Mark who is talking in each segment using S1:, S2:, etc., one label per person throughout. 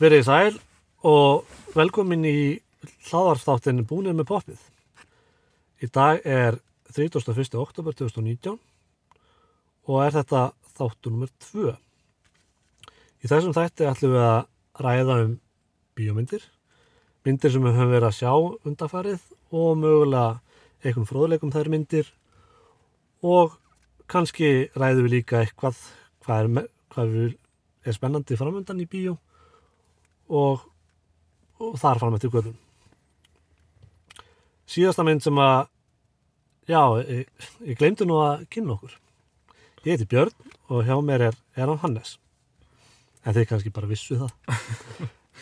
S1: Verið sæl og velkomin í hlaðarstáttin Búnið með poppið. Í dag er 31. oktober 2019 og er þetta þáttur nummer 2. Í þessum þætti ætlum við að ræða um bíómyndir, myndir sem við höfum verið að sjá undanfarið og mögulega einhvern fróðleikum þær myndir og kannski ræðum við líka eitthvað hvað er, me- hvað er, er spennandi framöndan í bíó og, og þar fram eftir göðum. Síðasta mynd sem að, já, ég, ég glemdi nú að kynna okkur. Ég heiti Björn og hjá mér er, er hann Hannes. En þið kannski bara vissu það.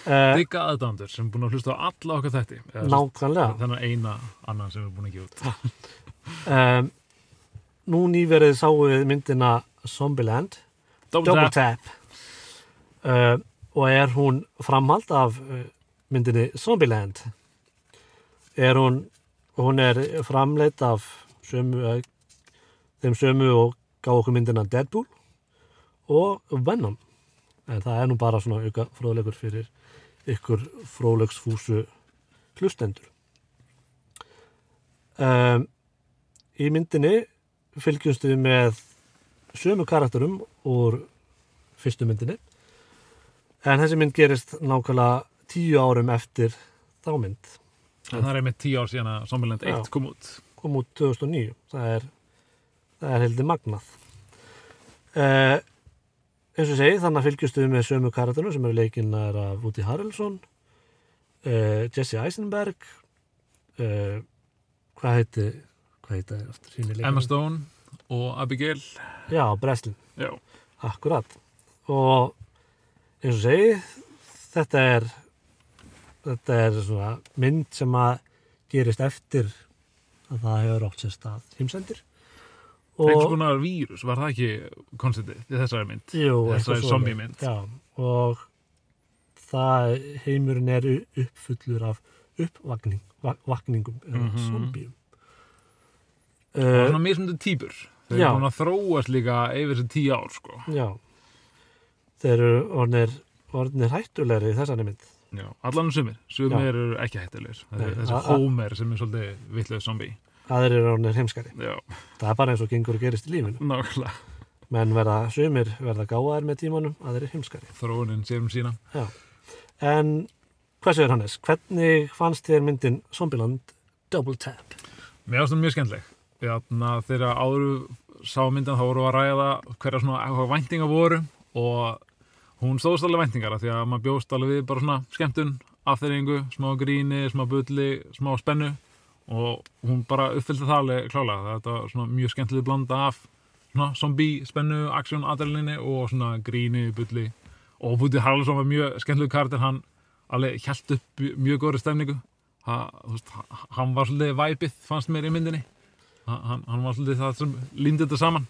S1: uh,
S2: digga aðdándur sem er búin að hlusta á alla okkar þætti Eða sem sagt,
S1: nákvæmlega.
S2: þennan eina annan sem við erum búin að gefa út
S1: Um, nú nýverið sáum við myndina Zombieland, Double Tap. Uh, og er hún framhald af uh, myndinni Zombieland? Er hún, hún er framleitt af sömu, uh, þeim sömu og gaf okkur myndina Deadpool og Venom. En það er nú bara svona auka fróðleikur fyrir ykkur fróðleiksfúsu hlustendur. Um, í myndinni fylgjumst við með sömu karakterum úr fyrstu myndinni en þessi mynd gerist nákvæmlega tíu árum eftir þá mynd
S2: það er einmitt tíu ár síðan að Sommerland 1
S1: Já.
S2: kom út
S1: kom út 2009 það er, það er heldur magnað eh, eins og ég segi þannig að fylgjustu við með sömu karatinu sem eru leikinnar af Woody Harrelson eh, Jesse Eisenberg eh, hvað heiti hvað heiti það aftur hinn í
S2: Emma
S1: leikinu?
S2: Stone og Abigail
S1: já, Breslin
S2: já,
S1: Akkurat. Og eins og segi, þetta er, þetta er svona mynd sem að gerist eftir að það hefur átt sér stað heimsendir.
S2: einhvers konar vírus var það ekki konstantið í þessari mynd
S1: jú,
S2: þessari
S1: eitthvað svoleiðis.
S2: zombie mynd.
S1: Já, og það heimurinn er u- uppfullur af uppvakning, vak- vakningum eða mm
S2: Mhm.
S1: zombíum.
S2: það var
S1: Uh,
S2: svona mismunandi týpur þau
S1: Já.
S2: eru búin að þróast líka yfir þessi tíu ár sko.
S1: Eh, já, þeir eru orðnir, orðnir hættulegri í þessari mynd.
S2: já. allan um sumir,
S1: Já.
S2: sumir eru ekki hættilegir
S1: Nei,
S2: þessi
S1: a- a-
S2: Homer sem er svolítið vitlega zombie
S1: Aðrir eru orðnir heimskari.
S2: já,
S1: Það er bara eins og gengur og gerist í lífinu.
S2: nákvæmlega
S1: Menn verða, sumir verða gáðar með tímanum, aðrir heimskari.
S2: þróunin séum sína
S1: Já. En hvað segir Hannes? Hvernig fannst þér myndin Zombieland Double Tap?
S2: Mér finnst það mjög skemmtileg. Þannig að þegar áður sá myndin þá voru að ræða hverja svona hvað væntingar voru og hún stóðst alveg væntingar af því að maður bjóst alveg við bara svona skemmtun, afþeyringu, smá gríni, smá bulli, smá spennu og hún bara uppfyllti það alveg klálega. Þetta var svona mjög skemmtileg blanda af svona zombie, spennu, aksjón, adrenalinni og svona gríni, bulli og Woody Harrelson var mjög skemmtileg karakter, hann alveg hjælt upp mjög góðri stemningu Ha- þú veist, ha- hann var svolítið væpið fannst mér í myndinni Ha- hann, hann var svolítið það sem lindi þetta saman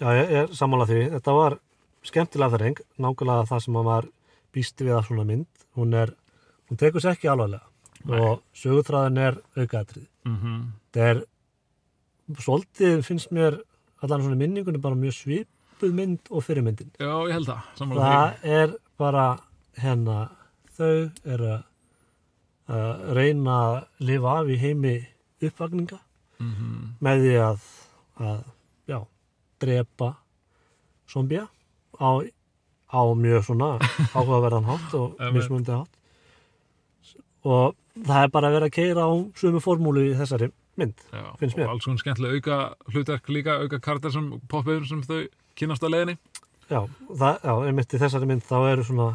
S1: Já, ég er sammála því. Þetta var skemmtilega þreng, nákvæmlega það sem hann var býst við að svona mynd. Hún er, hún tekur sér ekki alvarlega.
S2: Nei.
S1: Og sögutræðin er aukaðatrið.
S2: mm -hmm.
S1: Þetta er, svolítið finnst mér, allan svona minningunum bara mjög svipuð mynd og fyrirmyndin.
S2: já, ég held það, sammála því
S1: það er bara hérna þau eru að að reyna að lifa af í heimi uppvakninga
S2: mm
S1: með því að, að já, drepa zombia á, á mjög svona áhugaverðan hátt og
S2: Emmett.
S1: mismundi hátt og það er bara að vera að keira á sömu formúlu í þessari mynd
S2: já,
S1: finnst mér.
S2: og alls konar skemmtilega auka hlutverk líka auka kartar sem poppiður sem þau kynast á leiðinni
S1: já, það, já, einmitt í þessari mynd þá eru svona,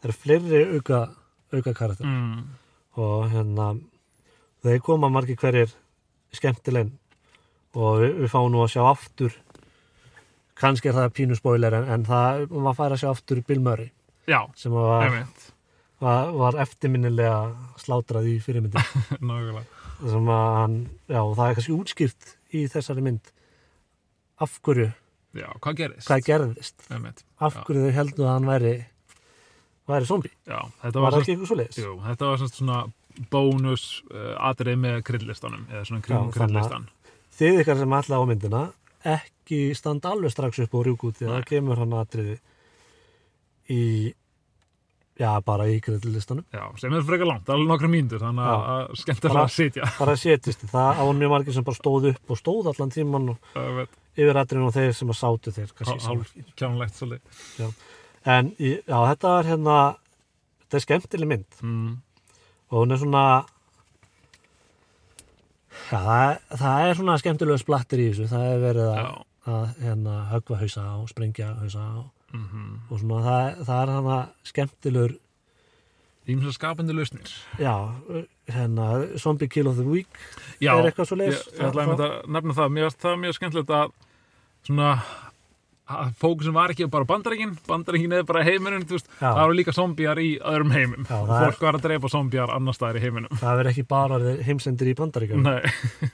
S1: það eru fleiri auka, auka karakter
S2: mm.
S1: og hérna þeir koma margir hverjir skemmtilegn og við, við fáum nú að sjá aftur kannski er það pínu spoiler en, en það var færa að sjá aftur Bill Murray
S2: já,
S1: sem að var,
S2: einmitt
S1: var, var eftirminnilega slátrað í fyrirmyndin
S2: nákvæmlega
S1: sem að hann, já það er kannski útskýrt í þessari mynd af hverju,
S2: já, hvað gerist?
S1: hvað gerðist
S2: einmitt
S1: af
S2: Já.
S1: hverju þau heldur að hann væri væri zombi,
S2: já, þetta
S1: var
S2: var,
S1: það
S2: var
S1: ekki eitthvað svoleiðis
S2: jú, þetta var semst svona bónus uh, atrið með krylllistanum eða svona
S1: Já,
S2: kringum
S1: þannig að-
S2: krylllistan
S1: þið ykkar sem ætla á myndina ekki standa alveg strax upp og rjúk út því að
S2: Nei.
S1: það kemur hann atriði í já, bara í kreddilistanum
S2: Já, sem er frekar langt, alveg nokkra mínútur þannig að-
S1: Já.
S2: að skemmtilega
S1: Bara-
S2: að sitja
S1: bara setist í það, það var mjög margir sem bara stóð upp og stóð allan tíman og
S2: Það er
S1: yfir atrinu og þeir sem að sátu þeir kannski í
S2: hálf
S1: samverki.
S2: kjánlegt svolítið
S1: en í- já, þetta er hérna þetta er skemmtileg mynd
S2: mm.
S1: og hún er svona já, það, það er svona skemmtilega splattir í þessu það er verið að,
S2: Já,
S1: að hérna, höggva hausa og sprengja hausa og,
S2: mhm
S1: og svona það, það er hana skemmtilegur
S2: Ímsa skapandi lausnir.
S1: já, hérna, Zombie Kill of the Week
S2: Já,
S1: Er eitthvað svoleiðis?
S2: Ég, ég ætlaði einmitt að nefna það, mér varst það mjög skemmtilegt að svona að fókusin var ekki bara á bandaríkin, bandaríkin eða bara heiminum, þú veist,
S1: Já.
S2: það eru líka zombjar í öðrum heimum.
S1: Já, það er-
S2: Fólk var að dreipa zombjar annar staðar í heiminum.
S1: það verður ekki bara heimsendir í bandaríkjum
S2: Nei,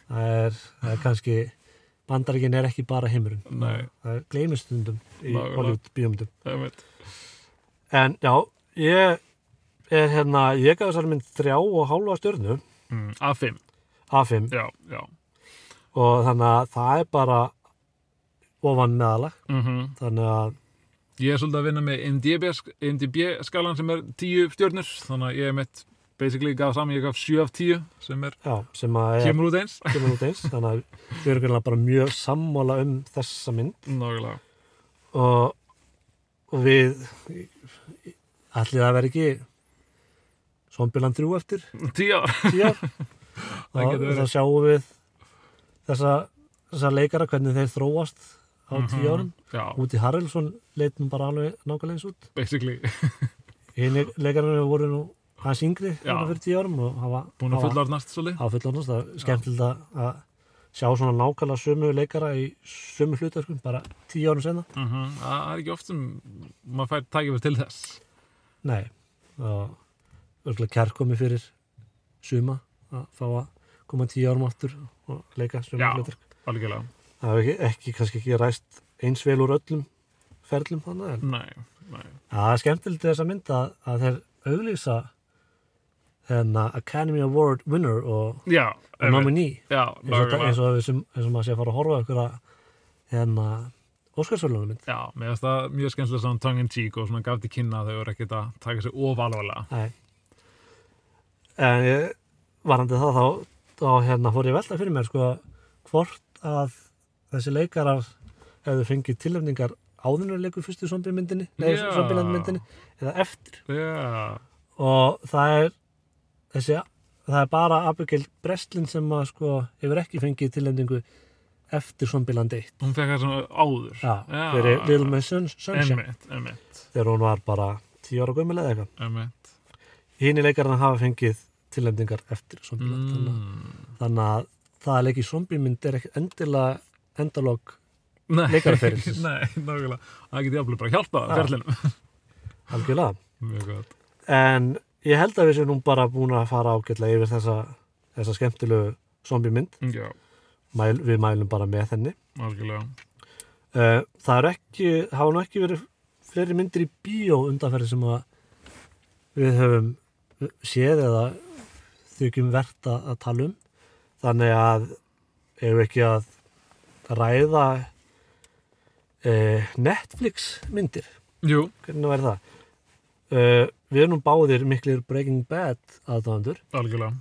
S1: það er, það er kannski bandaríkin er ekki bara heimurinn
S2: Nei.
S1: það er gleymistundum í
S2: Nákvæmlega.
S1: Hollywood bíómyndum
S2: það er mitt.
S1: en já, ég er hérna, ég gaf þessari mynd þrjá og hálfa stjörnu
S2: Mm, A5,
S1: A5
S2: já, já.
S1: og þannig að það er bara ofan meðalag
S2: Mm
S1: þannig að,
S2: Ég er svolítið að vinna með IMDb, sk- IMDb skalan sem er 10 stjörnur, þannig að ég er mitt basically gaf saman, ég gaf 7 af 10 sem er,
S1: já, sem að er
S2: kemur út eins.
S1: kemur út eins þannig að við erum greinlega bara mjög sammála um þessa mynd
S2: Nákvæmlega.
S1: og, og við allir það verði ekki Zombieland 3 eftir
S2: 10 ár.
S1: 10 ár
S2: Það
S1: og
S2: getur verið.
S1: þá sjáum við þessa, þessa leikara hvernig þeir þróast á 10
S2: Mhm.
S1: árum
S2: Já,
S1: Úti Harrelson leit nú bara alveg nákvæmlega eins út
S2: basically.
S1: Hini leikararnir voru nú hans yngri
S2: Já.
S1: þarna fyrir 10 árum og hafa
S2: Búin að
S1: hafa-
S2: fullarnast svolítið.
S1: hafa fullarnast það er skemmtilegt að- að sjá svona nákvæmlega sömu leikara í sömu hlutverkum bara 10 árum senna
S2: Mhm, Það það er ekki oft sem maður fær tækifæri til þess.
S1: Nei, og örgulega kærkomi fyrir suma að fá að koma tíu árum aftur og leika suma
S2: Já.
S1: hlutur.
S2: Algjörlega.
S1: Það hefur ekki, ekki, kannski ekki ræst eins vel úr öllum ferlum þannig, en
S2: Nei, nei.
S1: það er skemmtilegt við þessa mynd að, að þeir auglýsa þennan Academy Award winner og,
S2: Já,
S1: og
S2: einmitt.
S1: nominee
S2: Já,
S1: eins og, þetta- eins
S2: nákvæmlega.
S1: og, við sem, eins og maður sé að fara að horfa okkur að hérna Óskarsvölunum mynd.
S2: Já, mér finnst það mjög skemmtilega svona tongue in cheek og svona gaf til kynna að þau voru ekkert að taka sér ofalvarlega.
S1: Nei. En ég, varandi það þá, þá hérna fór ég að velta fyrir mér sko hvort að þessi leikarar hefðu fengið tilöfningar áðunarleikur fyrstu zombiemyndinni, nei,
S2: Já.
S1: zombilandmyndinni eða eftir
S2: Já,
S1: og það er þessi, það er bara Abigail Breslin sem að sko hefur ekki fengið tilöfningu eftir zombiland 1
S2: hún fekk það svona áður.
S1: Já, fyrir Little Miss Sun- Sunshine
S2: Einmitt, einmitt,
S1: þegar hún var bara 10 ára gömul eða eitthvað.
S2: einmitt.
S1: Hini leikararna hafa fengið tilöfningar eftir zombiland mm. þannig að
S2: Mm.
S1: þannig að það að leika í zombiemynd er ekki endilega endalók
S2: Nei,
S1: Leikaraferilsins.
S2: Nei, nákvæmlega. Það geti jafnvel bara hjálpað
S1: Já.
S2: ferlinum.
S1: algjörlega
S2: Mjög gott.
S1: en ég held að við séum nú bara búin að fara ágætlega yfir þessa, þessa skemmtilegu zombiemynd
S2: Já,
S1: Mæl, við mælum bara með henni
S2: algjörlega.
S1: Eh, það er ekki, hafa nú ekki verið fleiri myndir í bíó undanferði sem að við höfum eh, séð eða þykjum vert að, að tala um þannig að ef við ekki að ræða e, Netflix myndir
S2: Jú,
S1: hvernig væri það? Uh, við erum nú báðir miklir Breaking Bad aðdáðandur
S2: algjörlega.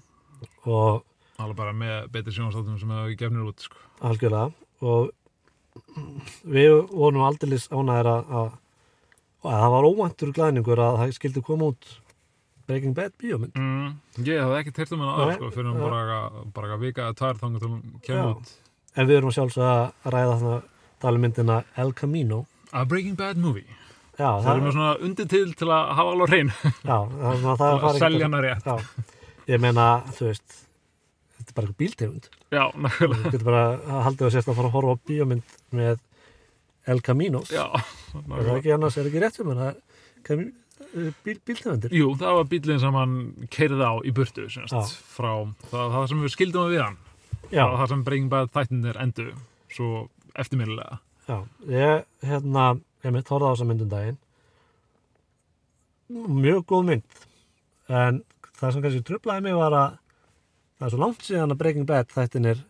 S1: og
S2: Alveg bara með betri sjónastáttum sem hefur gefnir út, sko.
S1: algjörlega og við vorum aldeilis ánæðir að, að, að það var óvæntur glæðningur að það skildi koma út Breaking Bad bíómynd
S2: Mm, ég hafði ekki teirt um hana
S1: Nei,
S2: aðeins sko, fyrir hún
S1: já.
S2: bara, eitthvað- bara að vika að tvær þangar til hún kemur
S1: Já.
S2: út.
S1: en við erum að sjálfsögða að ræða þannig talmyndina El Camino
S2: A Breaking Bad Movie.
S1: já,
S2: Það
S1: það,
S2: er með svona undirtil til að hafa alveg á hreinu,
S1: já, það, er svona- það
S2: að
S1: var
S2: selja hana rétt.
S1: já, ég meina, þú veist þetta er bara eitthvað bíltegund
S2: Já, nákvæmlega.
S1: þú getur bara haldið að sérst að fara að horfa á bíómynd með El Camino
S2: Já,
S1: er það
S2: nákvæmlega.
S1: ekki annars, er ekki rétt fyrir mér það er Cami- eh, bíl, bíltegundir
S2: Jú, það var bílinn sem hann keirði á í burtu,
S1: Já.
S2: semst, frá það, það sem við skildum við hann.
S1: já,
S2: Það, það sem Breaking Bad þættinir endu, svo eftirminnilega.
S1: Já, ég, hérna, ég mitt horfði á þessa mynd um daginn. Mjög góð mynd, en það sem kannski trublaði mig var að það er svo langt síðan að Breaking Bad þættin er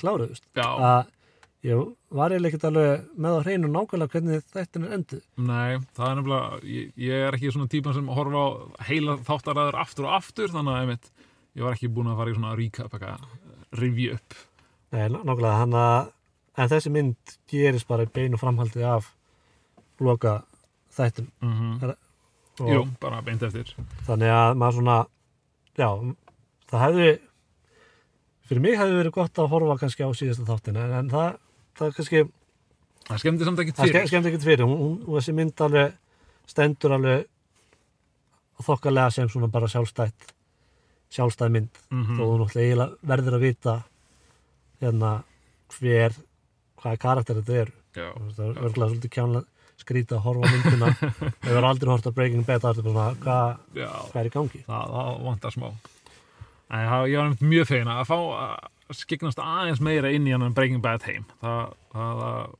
S1: kláruðust.
S2: Já,
S1: Að ég var ég ekkert alveg með á hreinu nákvæmlega hvernig þættin er endið
S2: Nei, það er nefnilega, ég, ég er ekki svona típan sem horfa á heila þáttaræður aftur og aftur, þannig að einmitt, ég var ekki búin að fara í svona recap, eitthvað, review upp.
S1: Nei, ná- nákvæmlega, hann að en þessi mynd gerist bara í beinu framhaldi af loka þættum
S2: Mm
S1: Mhm. og
S2: Jú, bara beint eftir.
S1: þannig að maður svona já, það hefði fyrir mig hefði verið gott að horfa kannski á síðasta þáttina en, en það, það kannski,
S2: Það skemmdi samt ekki
S1: það
S2: fyrir.
S1: ske- skemmdi ekkert fyrir hún, hún, hún þessi mynd alveg stendur alveg þokkalega sem svona bara sjálfstætt sjálfstæð mynd
S2: Mhm.
S1: þó þú náttúrulega eiginlega verður að vita hérna hver hvaða karakter þetta eru
S2: Já,
S1: Þú veist, það er örgulega svolítið kjánlega skrýta að horfa á myndina ef við erum aldrei hort að Breaking Bad þá ertu bara svona, hvað
S2: já,
S1: hvað er í gangi
S2: það, það vantar smá. En ég, ég var einmitt mjög fegin að fá að skiknast aðeins meira inn í hann en Breaking Bad heim. Það, það, það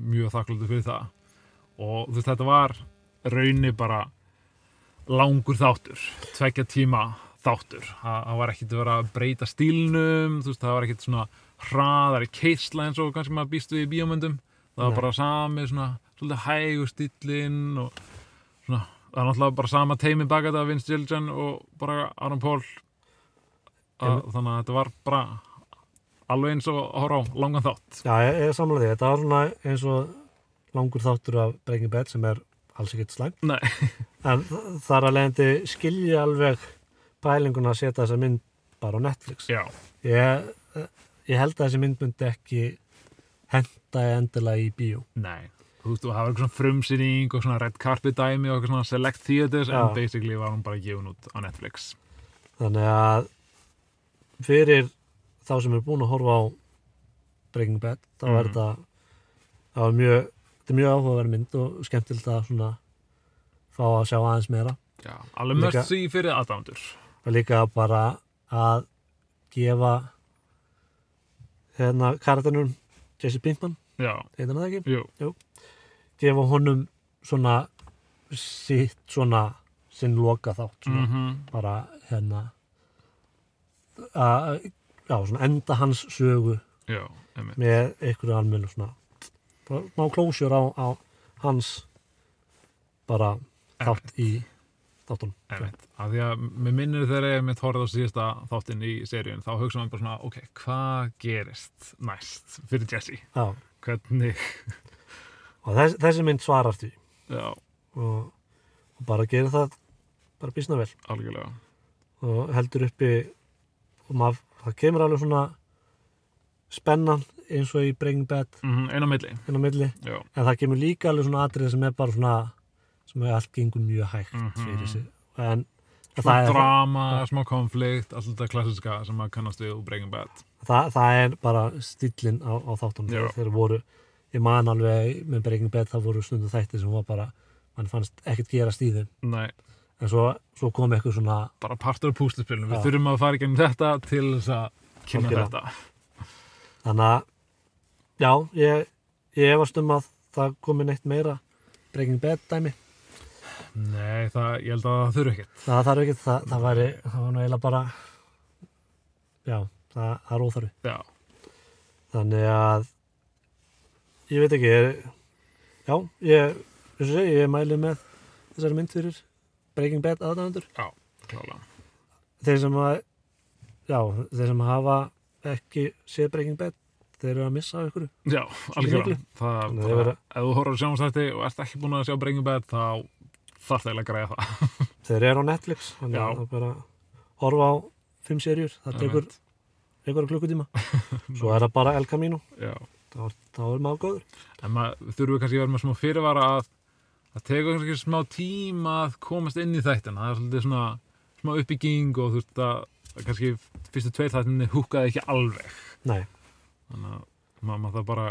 S2: mjög þakkláttu fyrir það. Og þú veist, þetta var raunni bara langur þáttur, tvekja tíma þáttur. Það, það var ekkit að vera að breyta stílnum, þú veist, það var ekkit svona hraðari keisla eins og kannski maður býst við í bíómyndum. Það var
S1: Nei.
S2: bara sami, svona, svolítið hægur stílinn og svona, það er náttúrulega bara sama teimi baka þetta, Vince Gilligan og bara Aron Paul. Að, þannig að þetta var bara alveg eins og að horfa á langan þátt.
S1: já, ég, ég samla því, þetta var svona eins og langur þáttur af Breaking Bad sem er alls ekkert slæm
S2: Nei,
S1: en þ- þar að leiðandi skilja alveg pælinguna að setja þessa mynd bara á Netflix
S2: já,
S1: ég, ég held að þessi mynd myndi ekki henda endilega í bíó
S2: Nei, þú veist, og það var eitthvað svona frumsýning og svona red carpet dæmi og eitthvað svona select theaters
S1: Já.
S2: en basically var hún bara gefin út á Netflix.
S1: Þannig að fyrir þá sem er búin að horfa á Breaking Bad, þá
S2: Mhm.
S1: er þetta það var mjög, þetta er mjög áhugaverð mynd og skemmtilegt að svona fá að sjá aðeins meira
S2: Já. Alveg
S1: Líka-
S2: mörg því fyrir aðdæmandur.
S1: og líka bara að gefa hérna karatunum Jesse Pinkman,
S2: Já,
S1: heitir hann það ekki
S2: jú,
S1: gefa honum svona sitt svona sinn loka þátt svona,
S2: mm
S1: bara hérna að já, svona enda hans sögu
S2: já, emmi.
S1: með einhverju almennu svona bara ná klósjur á, á hans bara þátt í þáttunum
S2: Einmitt. Af því að mér minnir þegar ég mitt horfði á síðasta þáttinn í seríun, þá hugsa maður bara svona, ok, hvað gerist næst fyrir Jesse?
S1: já,
S2: Hvernig?
S1: og þess, þessi mynd svarar því
S2: Já,
S1: og, og bara gerir það bara býsna vel
S2: algjörlega.
S1: og heldur uppi og maður, það kemur alveg svona spennan eins og í Breaking Bad
S2: Mm Einn á milli,
S1: inn á milli,
S2: já.
S1: en það kemur líka alveg svona atrið sem er bara svona sem er allt gengur mjög hægt
S2: Mhm.
S1: fyrir sig en
S2: Smá
S1: það er,
S2: drama, smá konflikt, alltaf þetta klassiska sem maður kannast við úr Breaking Bad.
S1: það, það er bara stillin á, á þáttunum
S2: Já.
S1: þeir voru, ég man alveg með Breaking Bad það voru stundu þættir sem var bara mann fannst ekkert gerast í þeim
S2: Nei,
S1: en svo, svo kom eitthvað svona
S2: bara partur af pústuspilinu, við
S1: Já.
S2: þurfum að fara í gegn þetta til þess að kynna
S1: Algjörlega.
S2: þetta
S1: þannig að já, ég, ég efast um að það komi neitt meira Breaking Bad dæmi
S2: Nei, það, ég held að það þurfi ekkert
S1: það þarf ekki, það, það væri það var nú eiginlega bara já, það, það er óþarfi
S2: Já,
S1: þannig að ég veit ekki ég, já, ég, eins og segi, ég mæli með þessari mynd fyrir Breaking Bad aðdæðandur
S2: já, klála
S1: þeir sem að já, þeir sem hafa ekki séð Breaking Bad, þeir eru að missa af ykkur
S2: Já, algjörlega
S1: miklu.
S2: það,
S1: Þannig að
S2: bara,
S1: ég verð að-
S2: Ef þú horfður sjónastætti og ert ekki búin að sjá Breaking Bad þá þarf það eiginlega að græða það
S1: þeir eru á Netflix þannig
S2: Já.
S1: að það er bara að horfa á fimm serjur, það tekur
S2: Einmitt.
S1: einhverja klukkutíma svo er það bara El Camino
S2: Já,
S1: þá, er- þá er maður góður
S2: en maður þurfum við kannski að vera með smá fyrirvara að það tekur kannski smá tíma að komast inn í þættin það er svolítið svona smá uppbygging og þú veist að kannski fyrstu tveir þættinni húkaði ekki alveg
S1: nei,
S2: þannig að maður maður það bara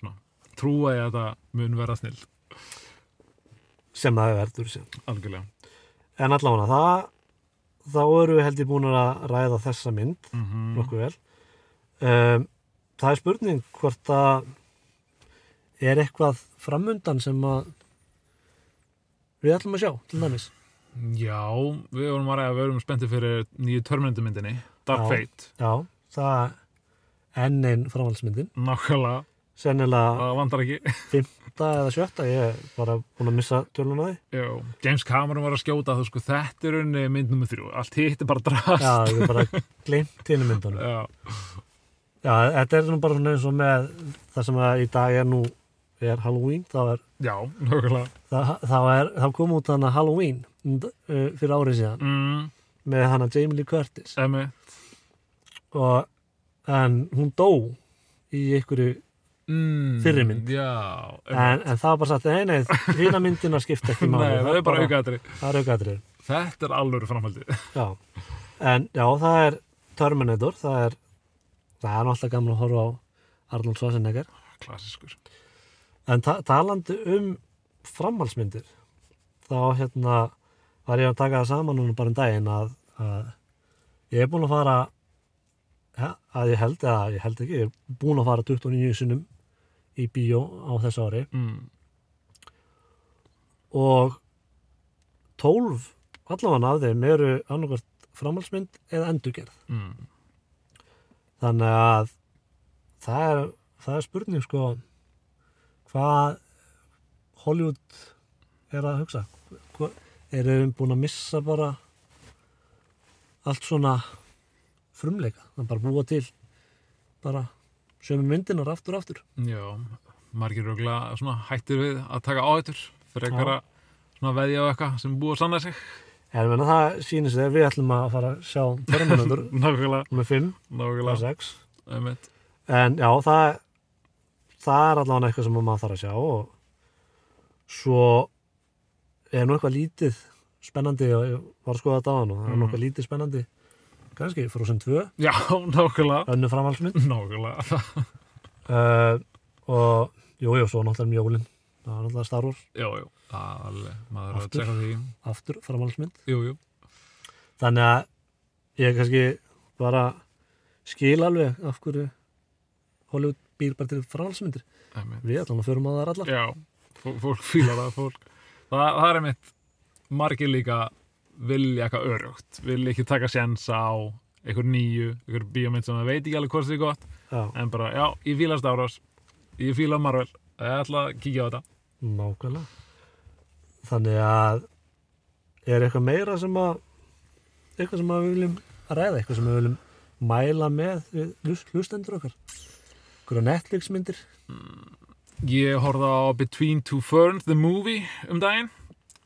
S2: svona, trúa ég að þetta mun vera snill
S1: sem það er verður sem
S2: algjörlega
S1: en allavega það þá eru við held ég búin að ræða þessa mynd
S2: mm
S1: nokkuð vel um, það er spurning hvort að er eitthvað framundan sem að við ætlum að sjá til dæmis
S2: já, við vorum að ræða við vorum spenntið fyrir nýju Terminator myndinni Dark
S1: Já.
S2: Fate,
S1: já, það er enn einn framhaldsmyndin
S2: nákvæmlega
S1: sennilega
S2: það vandar ekki
S1: fymta eða sjötta, ég er bara búin að missa tölun á því.
S2: Já, James Cameron var að skjóta þú sko, þetta er unni mynd nummer þrjú allt hitt er bara drast
S1: Já, ég er bara glimt hinn myndunum.
S2: Já,
S1: Já, þetta er nú bara svona eins og með það sem að í dag er nú, er Halloween, þá er,
S2: já nokkulega
S1: það, þá er, þá kom út hana Halloween mm, uh, fyrir árið síðan
S2: mm,
S1: með hana Jamie Lee Curtis
S2: emi,
S1: og en hún dó í einhverju,
S2: mm,
S1: Fyrri mynd.
S2: Já, emi.
S1: en, en það var bara sagt, nei, nei, hýna myndina skipta ekki máli.
S2: Nei, það er bara aukaðatri
S1: Það er aukaðrið.
S2: Þetta er alvöru framhaldið
S1: Já, en já, það er Terminator, það er það er náttúrulega gaman að horfa á Arnold Schwarzenegger,
S2: Klassiskur
S1: en ta talandi um framhalsmyndir þá hérna var ég að taka það saman núna bara um daginn að, að ég er búin að fara ja, að ég held eða ég held ekki, ég er búin að fara 29 sinnum í bíó á þessu ári
S2: mm,
S1: og 12 allavega af þeim eru annarkvært framhalsmynd eða endurgerð
S2: mm.
S1: þannig að það er, það er spurning sko hvað Hollywood er að hugsa Hva- eru við búin að missa bara allt svona frumleika, það er bara búa til bara sömu myndinar aftur og aftur
S2: Já, margir röglega svona hættir við að taka áhættur fyrir eitthvað svona veðja á eitthvað sem er búið að sanna sig
S1: en menna, það sýnir sig að við ætlum að fara að sjá Terminator
S2: Nákvæmlega,
S1: með 5 og
S2: nákvæmlega
S1: 6
S2: Einmitt.
S1: en já, það það er allavega eitthvað sem maður þarf að sjá og svo er nú eitthvað lítið spennandi og ég var að skoða þetta á hann og það er nú
S2: Mhm.
S1: eitthvað lítið spennandi kannski Frozen 2,
S2: Já, nákvæmlega
S1: önnu framhaldsmynd
S2: Mhm. Nákvæmlega,
S1: uh, og jú, jú, svo náttúrulega um jólin það er náttúrulega Star Wars,
S2: já, já Alveg, maður er að
S1: Aftur.
S2: tjekka því
S1: aftur framhaldsmynd
S2: Jú, jú,
S1: þannig að ég kannski bara skil alveg af hverju Hollywood býr bara til framhaldsmyndir
S2: einmitt
S1: við allan að förum á þar allar
S2: Já, fó- fólk fílar það fólk Það, það er einmitt margir líka vilja eitthvað örugt vilja ekki taka sjensa á einhver nýju, einhver bíómynd sem það veit ekki alveg hvort þið er gott
S1: já,
S2: en bara, já, ég fíla Star Wars ég fíla Marvel, ég ætla að kíkja á þetta
S1: Nákvæmlega. Þannig að er eitthvað meira sem að eitthvað sem að við viljum ræða, eitthvað sem við viljum mæla með við hlus- hlustendur okkar. Hverja Netflix myndir.
S2: ég horfði á Between Two Ferns the movie um daginn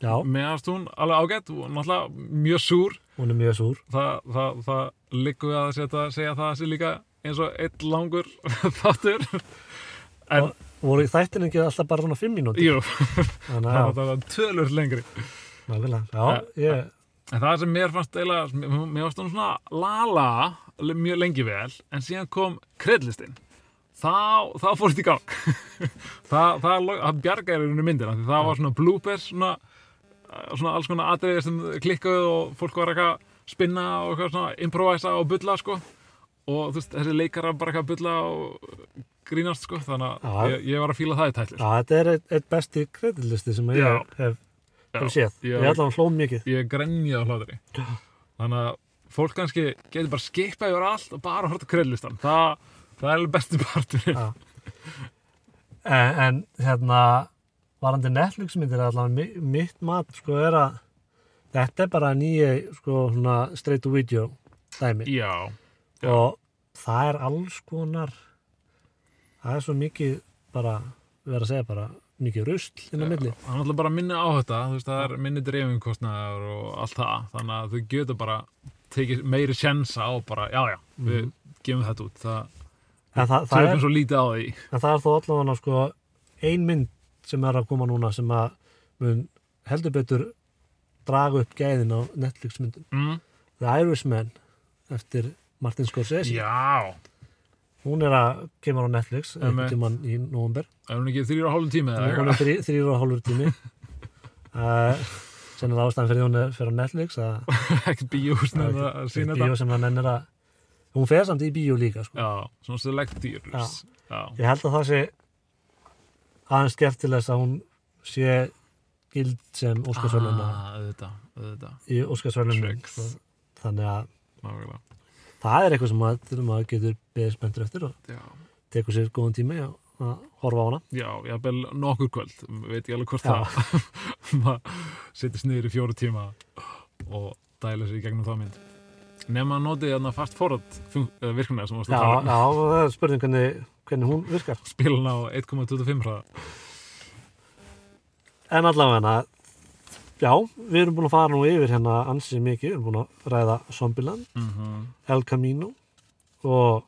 S1: Já,
S2: meðast hún alveg ágætt og náttúrulega mjög súr
S1: hún er mjög súr.
S2: það, það, það liggur við að setja, segja það sé líka eins og eitt langur þáttur en,
S1: Voru þættin ekki alltaf bara svona 5 mínúti?
S2: jú,
S1: Þannig
S2: það
S1: að,
S2: var tölur lengri
S1: nákvæmlega. Já, ég,
S2: En það sem mér fannst eiginlega, mér mér fannst hún svona lala le- mjög lengi vel, en síðan kom kreddlistin. Þá, þá fór þetta í gang. það, það, lo- það bjargaði rauninu myndina, því það var svona bloopers, svona, eh, svona alls konar atriði sem klikkuðu og fólk var eitthvað að spinna og eitthvað svona improvisa og bulla, sko. Og þú veist, þessi leikara bara eitthvað að bulla og grínast, sko. Þannig
S1: Já.
S2: að ég, ég var að fíla það í tætlir.
S1: já, þetta er eitt, eitt besti kreditlisti sem ég
S2: Já.
S1: hef, hef
S2: Já,
S1: séð.
S2: já.
S1: Ég ætla hann hlóm mikið.
S2: ég grenja á hlátri þannig að fólk kannski getur bara skipað yfir allt og bara horta kreðlistan Þa, það er alveg besti parturinn
S1: Já. en, en hérna varandi Netflix myndir allavega mi- mitt mat sko er að þetta er bara nýja sko svona straight to video dæmi
S2: já, já.
S1: og það er alls konar það er svo mikið bara, við erum að segja bara mikið rusl inn á milli
S2: það er náttúrulega bara minni áhætta þú veist, það er minni dreifingkostnaður og allt það, þannig að þau getur bara tekið meiri sjensa á bara já, já, við gefum þetta út það,
S1: en Mhm. það,
S2: það
S1: það,
S2: er
S1: er,
S2: svo lítið á því
S1: en það er þó allavega sko ein mynd sem er að koma núna sem að mun heldur betur draga upp gæðin á Netflix myndum
S2: mm?
S1: The Irishman eftir Martin Scorsese
S2: já,
S1: hún er að kemur á Netflix einhvern
S2: Einmitt.
S1: tímann í november
S2: er hún ekki þrýra hálfum tími eða
S1: hún
S2: eitthvað
S1: er þrý- þrír og hálfur tími uh, sem er ástæðan fyrir því hún er fyrir á Netflix að
S2: ekkert bíóhúsn
S1: það er
S2: eða að
S1: ekkert
S2: sína þetta
S1: bíó sem hann ennir að hún fer samt í bíó líka sko.
S2: já, svona selektýr já. Já.
S1: ég held að það sé aðeins gert til þess að hún sé gild sem Óskarsvöluna
S2: ah, auðvitað, auðvitað
S1: í Óskarsvölunum
S2: Tricks.
S1: þannig að
S2: Nákvæmlega.
S1: það er eitthvað sem maður, maður getur beðið spenntur eftir og
S2: Já,
S1: tekur sér góðan tími og, að horfa á hana
S2: já, jafnvel nokkur kvöld veit ég alveg hvort
S1: Já.
S2: það maður sittist niður í fjóru tíma og dæla sér í gegnum þá mynd nema að noti þarna fast forrat virkuna sem varst
S1: Já,
S2: að tala um.
S1: já, það er spurning hvernig, hvernig hún virkar
S2: spila hana á 1,25 hraða
S1: En allavega, já, við erum búin að fara nú yfir hérna ansið mikið, við erum búin að ræða Zombieland,
S2: mm
S1: El Camino og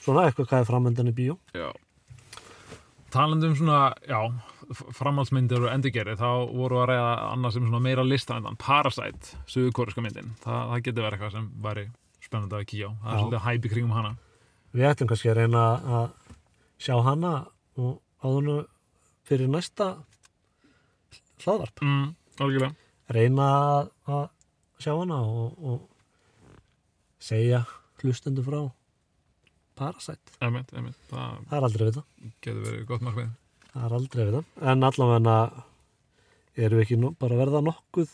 S1: svona eitthvað hvað er framöndan í bíó.
S2: Já Talandi um svona, já, f- framhaldsmyndir og endurgerði, þá voru að reyða annað sem svona meira listanendan, Parasite, suðukoreska myndin, Þa, það getur verið eitthvað sem væri spennandi að kíja á, það
S1: Já.
S2: er svolítið hæpi kringum hana
S1: Við ætlum kannski að reyna að sjá hana og áðurnu fyrir næsta hlaðvarp.
S2: mm, Algjörlega,
S1: Reyna að sjá hana og, og segja hlustendu frá Parasite.
S2: einmitt, einmitt, það
S1: Það er aldrei við það.
S2: getur verið gott markmið
S1: Það er aldrei við það. En allavega erum við ekki nú, bara að verða nokkuð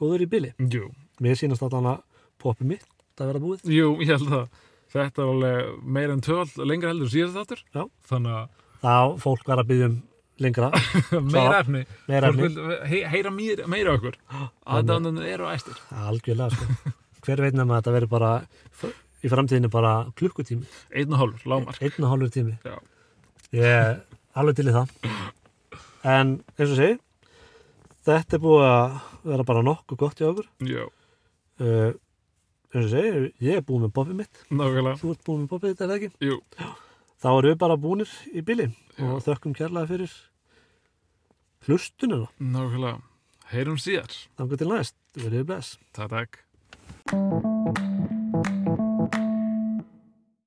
S1: góður í bili.
S2: Jú,
S1: Mér sýnast allan að poppi mitt að vera búið.
S2: jú, ég held að þetta er alveg meira en tvöld lengra heldur síðast þáttur,
S1: Já.
S2: þannig að
S1: Þá fólk var að byggja um lengra,
S2: meira efni,
S1: meira
S2: Fólk
S1: efni.
S2: vil he heyra meira, meira okkur, aðdándan eru á æstir
S1: Algjörlega, sko. Hver veit nema að þetta verður bara í framtíðinu bara klukkutími,
S2: Einn og hálfur, lágmark
S1: einn og hálfur tími.
S2: Já.
S1: Ég er alveg til í það. En eins og segi, þetta er búið að vera bara nokkuð gott í okkur.
S2: Jú,
S1: Uh, eins og segi, ég er búið með poppi mitt,
S2: nákvæmlega
S1: þú ert búið með poppi þetta er það ekki.
S2: Jú,
S1: Þá erum við bara búnir í bili og þökkum kærlega fyrir hlustununa.
S2: nákvæmlega. Heyrum síðar.
S1: Þannig til næst, verið bless.
S2: Takk, takk.